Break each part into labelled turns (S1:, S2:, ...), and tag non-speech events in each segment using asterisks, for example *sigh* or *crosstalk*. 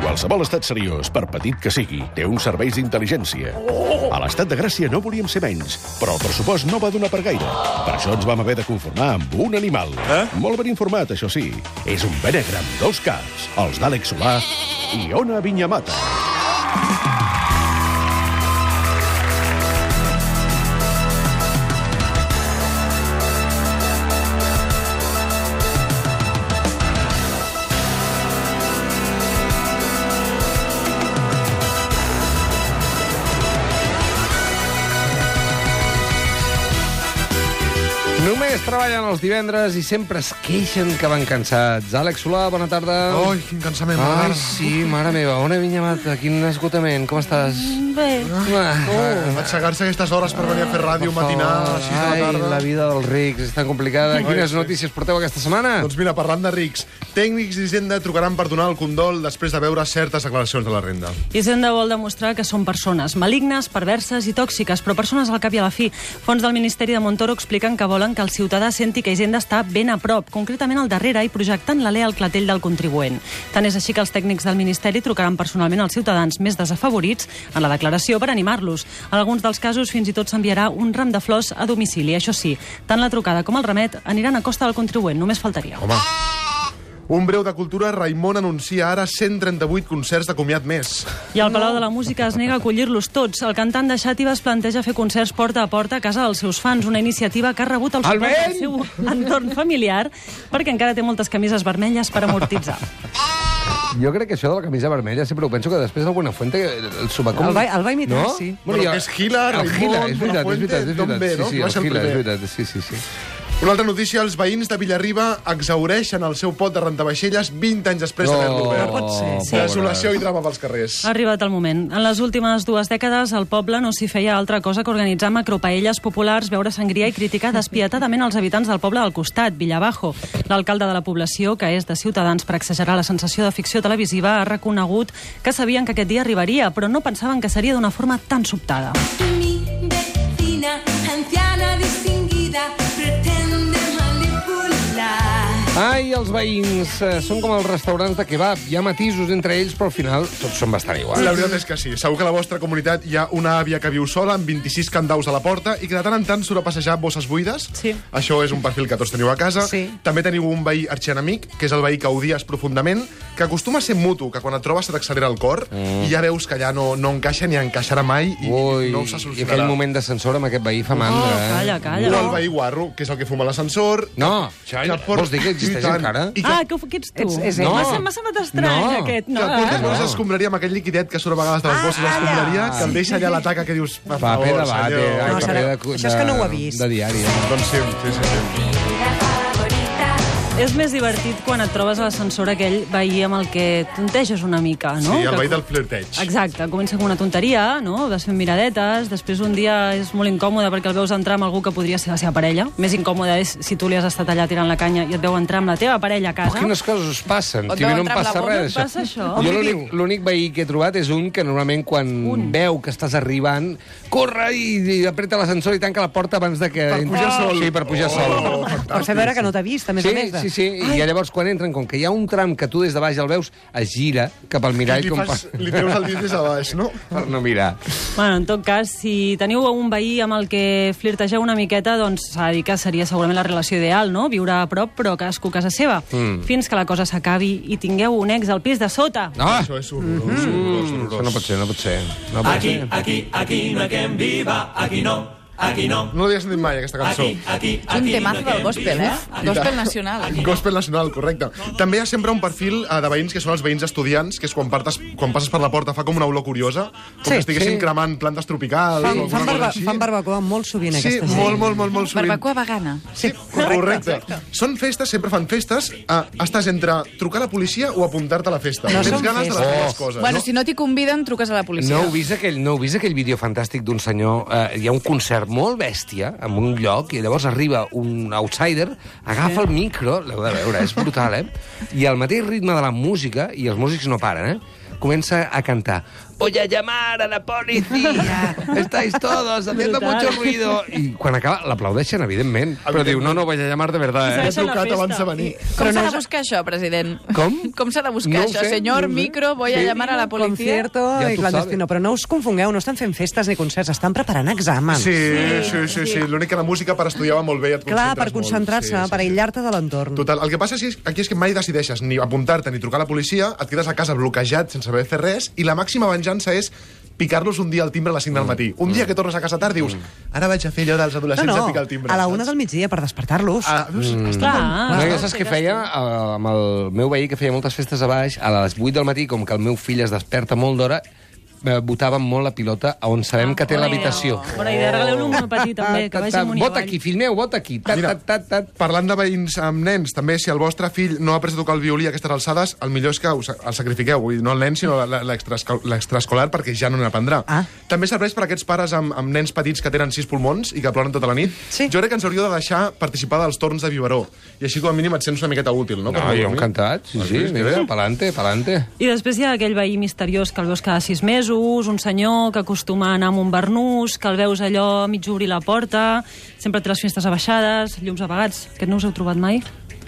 S1: Qualsevol estat seriós, per petit que sigui, té uns serveis d'intel·ligència. A l'estat de Gràcia no volíem ser menys, però el pressupost no va donar per gaire. Per això ens vam haver de conformar amb un animal. Eh? Molt ben informat, això sí. És un benegre amb dos caps, els d'Àlex Solà i Ona Vinyamata.
S2: Només treballen els divendres i sempre es queixen que van cansats. Àlex Solà, bona tarda.
S3: Ai, quin cansament,
S2: Ai,
S3: mare.
S2: sí, mare meva, una vinya mata, quin esgotament, com estàs?
S4: Bé,
S2: Ah,
S3: Aixecar-se aquestes hores per venir a fer ràdio matinar a 6 de
S2: Ai,
S3: la tarda.
S2: la vida dels rics és tan complicada. Quines
S3: sí.
S2: notícies porteu aquesta setmana?
S3: Doncs mira, parlant de rics, tècnics d'Hisenda trucaran per donar el condol després de veure certes declaracions de la renda.
S4: Hisenda vol demostrar que són persones malignes, perverses i tòxiques, però persones al cap i a la fi. Fons del Ministeri de Montoro expliquen que volen que el ciutadà senti que Hisenda està ben a prop, concretament al darrere i projectant l'alè al clatell del contribuent. Tant és així que els tècnics del Ministeri trucaran personalment als ciutadans més desafavorits en la declaració per animar-los. En alguns dels casos fins i tot s'enviarà un ram de flors a domicili. Això sí, tant la trucada com el remet aniran a costa del contribuent, només faltaria.
S3: Home... Un breu de cultura, Raimon anuncia ara 138 concerts de comiat més.
S4: I al Palau de la Música es nega a acollir-los tots. El cantant de Xàtiva es planteja fer concerts porta a porta a casa dels seus fans, una iniciativa que ha rebut el suport
S2: Albert!
S4: del seu entorn familiar perquè encara té moltes camises vermelles per amortitzar.
S2: Jo crec que això de la camisa vermella sempre ho penso que després del Buenafuente el Subacom...
S5: El va- el va imitar,
S2: no?
S5: sí.
S3: Bueno, que és Gila,
S2: el
S3: Raimon,
S2: Gila, és veritat, és
S3: Buenafuente,
S2: veritat, és
S3: d'on
S2: veritat.
S3: ve, no?
S2: Sí, sí,
S3: Va ser
S2: el
S3: el
S2: Gila, és
S3: primer.
S2: veritat, sí, sí, sí.
S3: Una altra notícia, els veïns de Villarriba exaureixen el seu pot de rentavaixelles 20 anys després d'haver-lo obert.
S4: sí.
S3: Desolació i drama pels carrers.
S4: Ha arribat el moment. En les últimes dues dècades, al poble no s'hi feia altra cosa que organitzar macropaelles populars, veure sangria i criticar despietadament els habitants del poble del costat, Villabajo. L'alcalde de la població, que és de Ciutadans per exagerar la sensació de ficció televisiva, ha reconegut que sabien que aquest dia arribaria, però no pensaven que seria d'una forma tan sobtada.
S6: Mi vecina, anciana distinguida, pretende manipular.
S2: Ai, els veïns, eh, són com els restaurants de kebab. Hi ha matisos entre ells, però al final tots són bastant iguals.
S3: Ah, La veritat és que sí. Segur que a la vostra comunitat hi ha una àvia que viu sola amb 26 candaus a la porta i que de tant en tant surt a passejar bosses buides.
S4: Sí.
S3: Això és un perfil que tots teniu a casa.
S5: Sí.
S3: També teniu un veí arxienemic, que és el veí que odies profundament, que acostuma a ser mutu, que quan et trobes et accelera el cor mm. i ja veus que ja no, no encaixa ni encaixarà mai i
S2: Ui,
S3: no
S2: i
S3: se
S2: aquell
S3: solucionarà.
S2: moment d'ascensor amb aquest veí fa mandra.
S4: Oh, calla,
S2: eh?
S4: calla.
S3: O el veí guarro, que és el que fuma a l'ascensor.
S2: No, això ja,
S3: porta-
S2: vols dir que existeix
S3: I tant.
S2: encara?
S3: I que
S4: Ah, que, que ets tu.
S5: Ets- és
S2: ell.
S4: M'ha
S2: No.
S4: sem- M'ha semblat estrany,
S2: No.
S4: aquest.
S3: que
S4: No,
S3: el portes
S4: eh? Ah,
S3: no. escombraria amb aquell liquidet que surt a vegades de les bosses d'escombraria, que el deixa allà a la taca que dius... Per
S2: Paper
S3: favor,
S2: de bate,
S3: senyor.
S2: ai,
S5: No,
S2: paper
S5: serà-
S2: de, cu-
S5: això és que no
S2: de-
S5: ho ha vist.
S2: De diari.
S3: Doncs sí, sí, sí. sí.
S4: És més divertit quan et trobes a l'ascensor aquell veí amb el que tonteges una mica, no?
S3: Sí, el
S4: Que-
S3: veí del flirteig.
S4: Exacte, comença com una tonteria, no? Vas fent miradetes, després un dia és molt incòmode perquè el veus entrar amb algú que podria ser la seva parella. Més incòmode és si tu li has estat allà tirant la canya i et veu entrar amb la teva parella a
S2: Però
S4: casa.
S2: quines coses us passen,
S5: O
S2: tio, no em
S5: entrar amb la
S2: passa
S5: boca,
S2: res
S4: et
S2: d'això.
S4: passa això?
S2: Jo
S5: Home,
S2: l'únic- l'únic veí que he trobat és un que normalment quan un. veu que estàs arribant, corre i, i apreta l'ascensor i tanca la porta abans de que...
S3: Per
S2: entri.
S3: pujar sol.
S2: Sí, per pujar sol.
S5: Per fer veure que no t'ha vist, a més
S2: Sí,
S5: a més. de-
S2: sí, sí, i llavors quan entren, com que hi ha un tram que tu des de baix el veus, es gira cap al
S3: I
S2: mirall
S3: li,
S2: com
S3: fas,
S2: per,
S3: li treus el dit des de baix, no?
S2: per no mirar.
S4: Bueno, en tot cas, si teniu un veí amb el que flirtegeu una miqueta, doncs s'ha de dir que seria segurament la relació ideal, no? Viure a prop, però cadascú a casa seva. Mm. Fins que la cosa s'acabi i tingueu un ex al pis de sota.
S2: No,
S3: Això és horrorós, horrorós,
S2: Ah! això no
S3: horrorós.
S2: pot ser, no pot ser. No pot
S7: Aquí,
S2: ser.
S7: aquí, aquí no hay quien viva, aquí no, aquí no,
S3: No l'havia sentit mai, aquesta cançó.
S7: aquí, aquí,
S5: És un
S7: aquí no
S5: temazo
S7: hay
S5: del
S7: quien
S5: gospel,
S7: viva.
S5: eh? Gospel nacional.
S3: Gospel nacional, correcte. També hi ha sempre un perfil eh, de veïns que són els veïns estudiants, que és quan, partes, quan passes per la porta fa com una olor curiosa, com
S5: Sí,
S3: que estiguessin
S2: sí.
S3: cremant plantes tropicals...
S5: Fan,
S3: o alguna
S5: fan,
S3: cosa
S5: barba,
S3: així.
S5: fan barbacoa molt sovint,
S3: Sí,
S5: aquesta gent.
S3: molt, molt, molt, molt sovint.
S5: vegana.
S3: Sí, correcte. correcte. Són festes, sempre fan festes. Eh, estàs entre trucar a la policia o apuntar-te a la festa.
S5: No
S3: Tens
S5: són
S3: ganes de les
S5: festes.
S3: dues coses,
S8: Bueno,
S3: no?
S8: si no t'hi conviden, truques a la policia.
S2: No heu, vist aquell, no heu vist aquell vídeo fantàstic d'un senyor... Eh, hi ha un concert molt bèstia en un lloc i llavors arriba un outsider, agafa el micro, l'heu de veure, és brutal, eh? I al mateix ritme de la música, i els músics no paren, eh? comença a cantar Voy a llamar a la policía, estáis todos haciendo
S4: Brutal.
S2: mucho ruido. I quan acaba, l'aplaudeixen, evidentment. Però diu, no, no, voy a llamar de verdad,
S3: He
S2: eh?
S4: Segueixen la
S3: trucat
S4: festa.
S3: abans de venir.
S8: Com s'ha de buscar això, president?
S2: Com?
S8: *laughs* Com s'ha de buscar
S2: No ho
S8: això?
S2: sé,
S8: Senyor
S2: no ho sé.
S8: micro, voy a llamar a la policía.
S5: Concierto
S2: Ja
S5: i
S2: t'ho
S5: clandestino.
S2: sabe.
S5: Però no us confongueu, no estan fent festes ni concerts, estan preparant exàmens.
S3: Sí, sí, sí, sí. L'únic que la música per estudiar va molt bé i et
S5: Clar,
S3: concentres
S5: per
S3: molt.
S5: concentrar-se,
S3: Sí, sí,
S5: per
S3: sí.
S5: aïllar-te de l'entorn.
S3: Total, el que passa és que aquí és que mai decideixes ni apuntar-te ni trucar a la policia, et quedes a casa bloquejat sense haver fer res i la màxima venjança és picar-los un dia al timbre a les 5 del matí. Un dia que tornes a casa tard dius, ara vaig a fer allò dels
S5: No,
S3: adolescents
S5: no,
S3: a picar el timbre.
S5: a la una del migdia per despertar-los.
S3: Ah, veus? Està
S4: Clar.
S2: No, ja saps què feia eh, amb el meu veí, que feia moltes festes a baix, a les 8 del matí, com que el meu fill es desperta molt d'hora, eh, votàvem molt la pilota a on sabem que té
S4: Bona
S2: l'habitació.
S4: idea. Bona idea, regaleu-lo un monopatí,
S2: *laughs*
S4: Ah, també, que
S2: Ta, ta,
S4: vagi
S2: ta,
S4: amunt i
S2: Vota
S4: avall.
S2: aquí, fill meu, vota aquí. Ta,
S3: Mira.
S2: ta, ta, ta.
S3: Parlant de veïns amb nens, també, si el vostre fill no ha après a tocar el violí a aquestes alçades, el millor és que us- el sacrifiqueu, vull dir, no el nen, sinó la- la- l'extraesco- l'extraescolar, perquè ja no n'aprendrà.
S5: Ah.
S3: També serveix per a aquests pares amb, amb nens petits que tenen sis pulmons i que ploren tota la nit.
S5: Sí.
S3: Jo crec que ens hauríeu de deixar participar dels torns de biberó, i així com a mínim et sents una miqueta útil, no? Per
S2: No, jo
S3: dormir.
S2: encantat, sí,
S3: Has
S2: sí,
S3: vist, que
S2: mira,
S3: bé?
S2: pa'lante, pa'lante.
S4: I després hi ha aquell veí misteriós que el veus cada sis mesos, un senyor que acostuma a anar amb un barnús, que el veus allò mig obrir la porta, sempre té les finestres abaixades, llums apagats. Aquest no us heu trobat mai?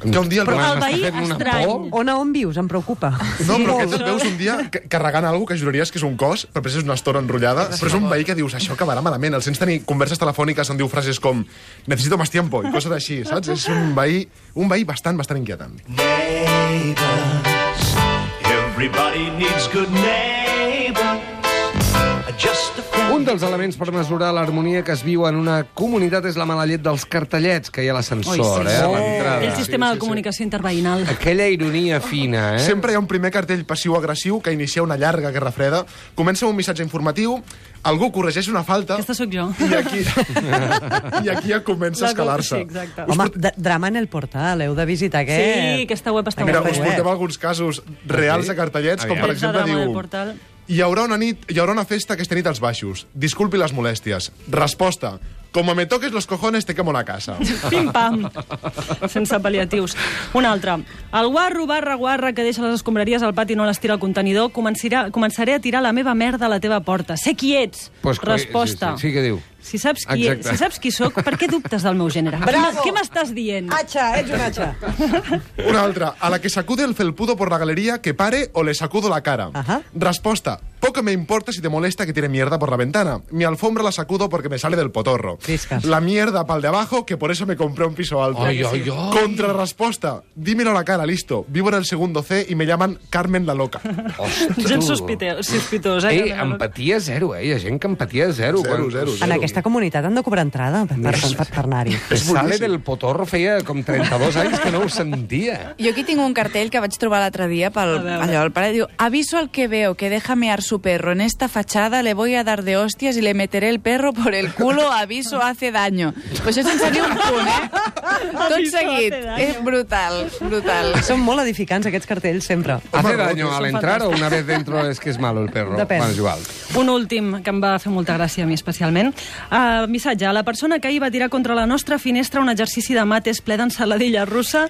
S3: Que un dia el
S4: Però
S3: veus-
S4: el veí
S2: fent una
S4: estrany.
S2: por?
S5: On a on vius? Em preocupa.
S3: No, però
S5: Molt.
S3: aquest et veus un dia ca- carregant alguna que juraries que és un cos, però després és una estona enrotllada, però és un veí que dius, això acabarà malament. Els sents tenir converses telefòniques on diu frases com necessito más tiempo i coses així, saps? És un veí, un veí bastant, bastant inquietant.
S4: Eh?
S7: Everybody needs good neighbors. Just a few.
S2: Un dels elements per mesurar l'harmonia que es viu en una comunitat és la mala llet dels cartellets que hi ha a l'ascensor, eh, a l'entrada.
S4: Oh. El sistema de comunicació interveïnal.
S2: Aquella ironia fina, eh?
S3: Sempre hi ha un primer cartell passiu-agressiu que inicia una llarga guerra freda, comença amb un missatge informatiu, algú corregeix una falta...
S4: Aquesta sóc jo.
S3: I aquí, *laughs* i aquí ja comença a
S4: La
S3: escalar-se.
S4: sí, exacte.
S3: Us
S5: Home, d- drama en el portal, heu de visitar aquest.
S4: Sí, aquesta web està
S3: Mira,
S4: guapa.
S3: us portem alguns casos reals de cartellets, com per
S4: Tretze
S3: exemple
S4: drama del
S3: diu...
S4: portal.
S3: Hi haurà, una nit, hi haurà una festa aquesta nit als baixos. Disculpi les molèsties. Resposta. Como me toques los cojones, te quemo la *laughs* casa.
S4: *laughs* Pim-pam. Sense pal·liatius. Un altre. El guarro, barra, guarra, que deixa les escombraries al pati i no les tira al contenidor, començarà, començaré a tirar la meva merda a la teva porta. Sé qui ets.
S2: Pues, coi,
S4: Resposta.
S2: sí, sí, sí, què diu?
S4: Si saps qui,
S2: Exacte.
S4: si saps qui sóc, per què dubtes del meu gènere?
S5: Bravo.
S4: Què m'estàs dient?
S5: Atxa, ets un atxa.
S3: Una altra. A la que sacude el felpudo por la galería, que pare o le sacudo la cara.
S5: Ajá.
S3: Resposta. Poco me importa si te molesta que tiene mierda por la ventana. Mi alfombra la sacudo porque me sale del potorro.
S5: Friscas.
S3: La mierda pa'l de abajo, que por eso me compré un piso alto.
S2: Ay, ay, ay.
S3: Contrarresposta. Dímelo a la cara, listo. Vivo en el segundo C y me llaman Carmen la loca.
S2: Ostres,
S4: Gent
S2: tu.
S4: Doncs sospite- sospitosa.
S2: Ei,
S4: que-
S2: empatia zero, eh? Hi ha gent que empatia zero.
S3: Zero,
S2: quan-
S3: zero, zero.
S5: En aquesta comunitat han de cobrar entrada per, per, per, per anar-hi.
S2: Que Sale del Potorro feia com 32 anys que no ho sentia.
S8: Jo aquí tinc un cartell que vaig trobar l'altre dia pel,
S4: A veure.
S8: allò, el pare diu aviso al que veo que deja mear su perro en esta fachada le voy a dar de hostias y le meteré el perro por el
S4: *laughs*
S8: culo aviso hace daño pues això sense ni un punt eh? tot
S4: Aviso,
S8: seguit,
S4: hace daño.
S8: és brutal brutal
S5: Són molt edificants, aquests cartells, sempre.
S2: Hace daño al entrar o una vez dentro es que es malo el perro.
S5: Depèn.
S2: Bueno, és igual.
S4: Un últim que em va fer molta gràcia a mi especialment. Uh, missatge. La persona que ahir va tirar contra la nostra finestra un exercici de mates ple d'ensaladilla russa.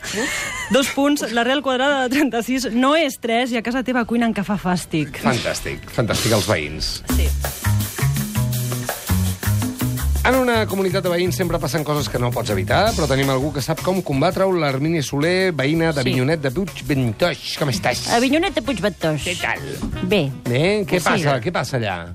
S4: Dos punts. L'arrel quadrada de 36 no és 3 i a casa teva cuinen que fa fàstic.
S2: Fantàstic, fantàstic els veïns. Sí. En una comunitat de veïns sempre passen coses que no pots evitar, però tenim algú que sap com combatre-ho, l'Armini Soler, veïna d'Avinyonet de Puigventoix. Com estàs?
S9: Avinyonet de Puigventós.
S2: Què tal?
S9: Bé,
S2: Bé, què
S9: Sí.
S2: passa? Què passa allà?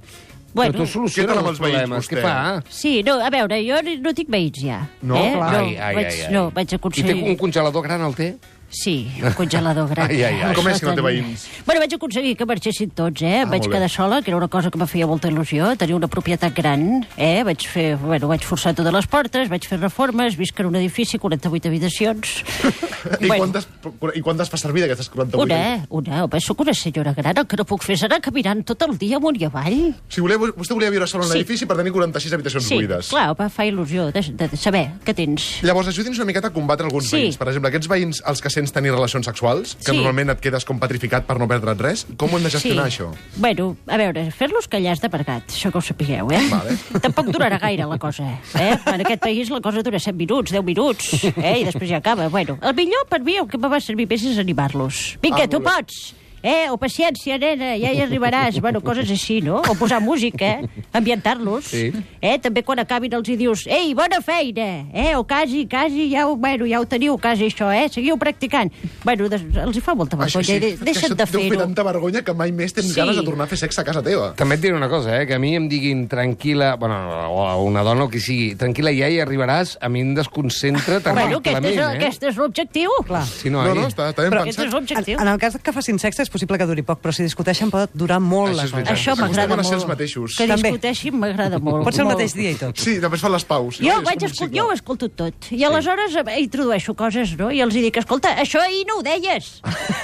S9: Bueno.
S2: però tu
S3: Què tal
S2: soluciones
S3: amb
S2: els
S3: els veïns,
S2: problemes.
S3: vostè?
S2: Què fa?
S9: sí, no, a veure, jo no tinc veïns ja.
S3: No,
S9: eh?
S3: clar.
S9: No, vaig, no, vaig aconseguir...
S2: I té un congelador gran, el té?
S9: Sí, un congelador
S2: *laughs*
S9: gran.
S2: Ai, ai, ai.
S3: Com és que no té
S9: Escolta,
S3: veïns?
S9: Bueno, vaig aconseguir que marxessin tots, eh?
S3: Ah,
S9: vaig
S3: molt bé.
S9: quedar sola, que era una cosa que me feia molta il·lusió, tenir una propietat gran, eh? Vaig fer, bueno, vaig forçar totes les portes, vaig fer reformes, visc en un edifici, 48
S3: *laughs*
S9: habitacions...
S3: I, quantes, I quantes fa servir d'aquestes 48?
S9: Una, una, home, sóc una senyora gran, el que no puc fer és anar caminant tot el dia amunt i avall.
S4: eh?
S3: Si volia, vostè volia viure sola en un
S9: Sí.
S3: edifici per tenir 46 habitacions
S9: Sí,
S3: buides.
S9: clar, home, fa il·lusió de, de, de saber què tens.
S3: Llavors, ajudi'ns una miqueta a combatre alguns
S9: Sí.
S3: veïns. Per exemple, aquests veïns als que sents tenir relacions sexuals, que
S9: Sí.
S3: normalment et quedes com petrificat per no perdre't res, com ho hem de gestionar, això?
S9: Bueno, a veure, fer-los callar és de mercat, això que ho sapigueu, eh? Vale.
S4: *laughs*
S9: Tampoc durarà gaire la cosa, eh? En aquest país la cosa dura 7 minuts, 10 minuts, eh? I després ja acaba. Bueno, el millor per mi, el que em va servir més és animar-los. Vinga,
S3: Ah,
S9: tu
S3: molt bé.
S9: pots!
S4: Eh, o paciència, nena, ja hi arribaràs. Bueno, coses així, no? O posar música, eh? ambientar-los.
S2: Sí.
S4: Eh, també quan acabin els hi dius, ei, bona feina, eh, o quasi, quasi, ja ho, bueno, ja ho teniu, quasi això, eh, seguiu practicant. Bueno, des, els hi fa molta vergonya, sí, de, deixa't de
S3: Deu fer
S4: fer-ho.
S3: tanta vergonya que mai més tens
S4: Sí.
S3: sí. ganes de tornar a fer sexe a casa teva.
S2: També et diré una cosa, eh? que a mi em diguin tranquil·la, bueno, o a una dona o qui sigui, tranquil·la ja hi arribaràs, a mi em desconcentra tan
S4: Bueno, aquest és,
S2: clarament,
S4: el-
S2: eh?
S4: aquest és l'objectiu.
S2: Si no, eh?
S3: No,
S2: ahir.
S3: no, està, està ben
S4: Però aquest
S3: pensat.
S4: és
S5: En,
S4: l'objectiu.
S5: en el cas que facin sexe és possible que duri poc, però si discuteixen pot durar molt
S2: Això
S5: la
S2: és
S5: cosa.
S2: veritat.
S4: Això
S3: Acostumen
S4: m'agrada
S3: a
S4: molt.
S3: ser els mateixos.
S4: Que
S5: També.
S4: discuteixin m'agrada molt.
S5: Pot ser el
S4: molt.
S5: mateix dia i tot.
S3: Sí, després fan les paus.
S4: Jo,
S3: És
S4: ho vaig
S3: com un
S4: escol...
S3: cicle.
S4: jo ho escolto tot. I aleshores eh, introdueixo coses, no? I els hi dic, escolta, això ahir no ho deies.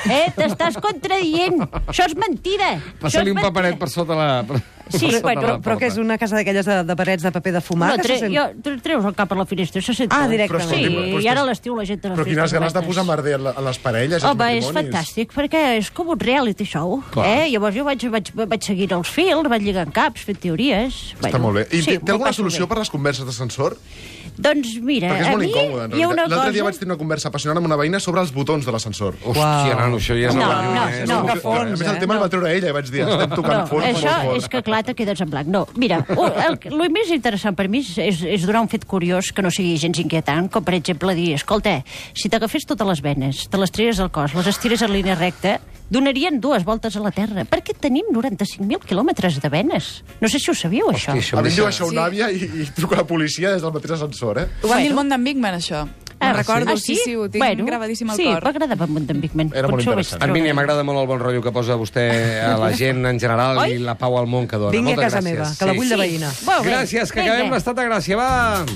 S4: Eh, t'estàs contradient. Això és mentida. Això és
S2: Passa-li un
S4: mentida.
S2: paperet per sota la... Per
S4: Sí,
S2: sota
S4: bueno,
S5: Però,
S2: la
S5: però que és
S2: porta.
S5: una casa d'aquelles de, de parets de paper de fumar?
S4: No,
S5: que
S4: tre...
S5: se sent-
S4: jo, tre- treus el cap per la finestra, se sent.
S5: Ah,
S3: Però
S5: directament.
S3: escolti,
S4: Sí,
S3: però
S4: i
S3: estàs-
S4: ara a l'estiu la gent té les
S3: Però quines
S4: festes
S3: ganes de
S4: obertes.
S3: posar merder a les parelles, als
S4: Home, és
S3: matrimonis.
S4: fantàstic, perquè és com un reality show.
S2: Clar.
S4: Eh? Llavors jo vaig, vaig, vaig seguint els fils, vaig lligant caps, fent teories...
S3: Està molt bé. I té, té
S4: m'ho
S3: alguna
S4: passo
S3: solució
S4: bé.
S3: per les converses d'ascensor?
S4: Doncs mira,
S3: Perquè és
S4: a
S3: molt
S4: mi
S3: incòmode, en
S4: hi ha
S3: realitat.
S4: una
S3: L'altre
S4: cosa...
S3: dia vaig tenir una conversa apassionant amb una veïna sobre els botons de l'ascensor.
S2: Hòstia, nano, això ja és
S4: No,
S2: anar
S4: no,
S2: lluny, eh?
S4: no.
S2: És molt fort,
S3: A
S2: eh?
S3: més,
S5: eh?
S3: el tema el va treure ella i vaig dir, estem tocant
S4: no,
S3: fons
S4: això
S3: molt fort.
S4: és que clar, te quedes en blanc. No,
S3: *laughs*
S4: mira, u- el, el, més interessant per mi és, és, és donar un fet curiós que no sigui gens inquietant, com per exemple dir, escolta, si t'agafés totes les venes, te les tries al cos, les estires en línia recta, donarien dues voltes a la Terra. Perquè tenim 95.000 quilòmetres de venes. No sé si ho sabíeu, això.
S2: Hòstia, això
S3: A mi
S2: em
S3: em diu això
S8: Sí.
S3: una àvia i, i truca la policia des del mateix ascensor, eh?
S8: Ho va dir el món d'en Bigman, això. Ah, recordo,
S4: Ah,
S8: sí? sí, ho tinc bueno, gravadíssim al
S4: sí,
S8: cor.
S4: m'agradava molt d'en Bigman.
S3: Era molt
S4: Potser ho vaig
S3: interessant.
S2: A mi
S4: trobar.
S2: m'agrada molt el bon rotllo que posa vostè a la gent en general i la pau al món que dona.
S5: Vingui a
S2: Moltes
S5: casa
S2: gràcies.
S5: meva, que la vull de veïna.
S4: Molt bé.
S2: Gràcies, que
S4: Vinga.
S2: acabem l'estat de gràcia. Va!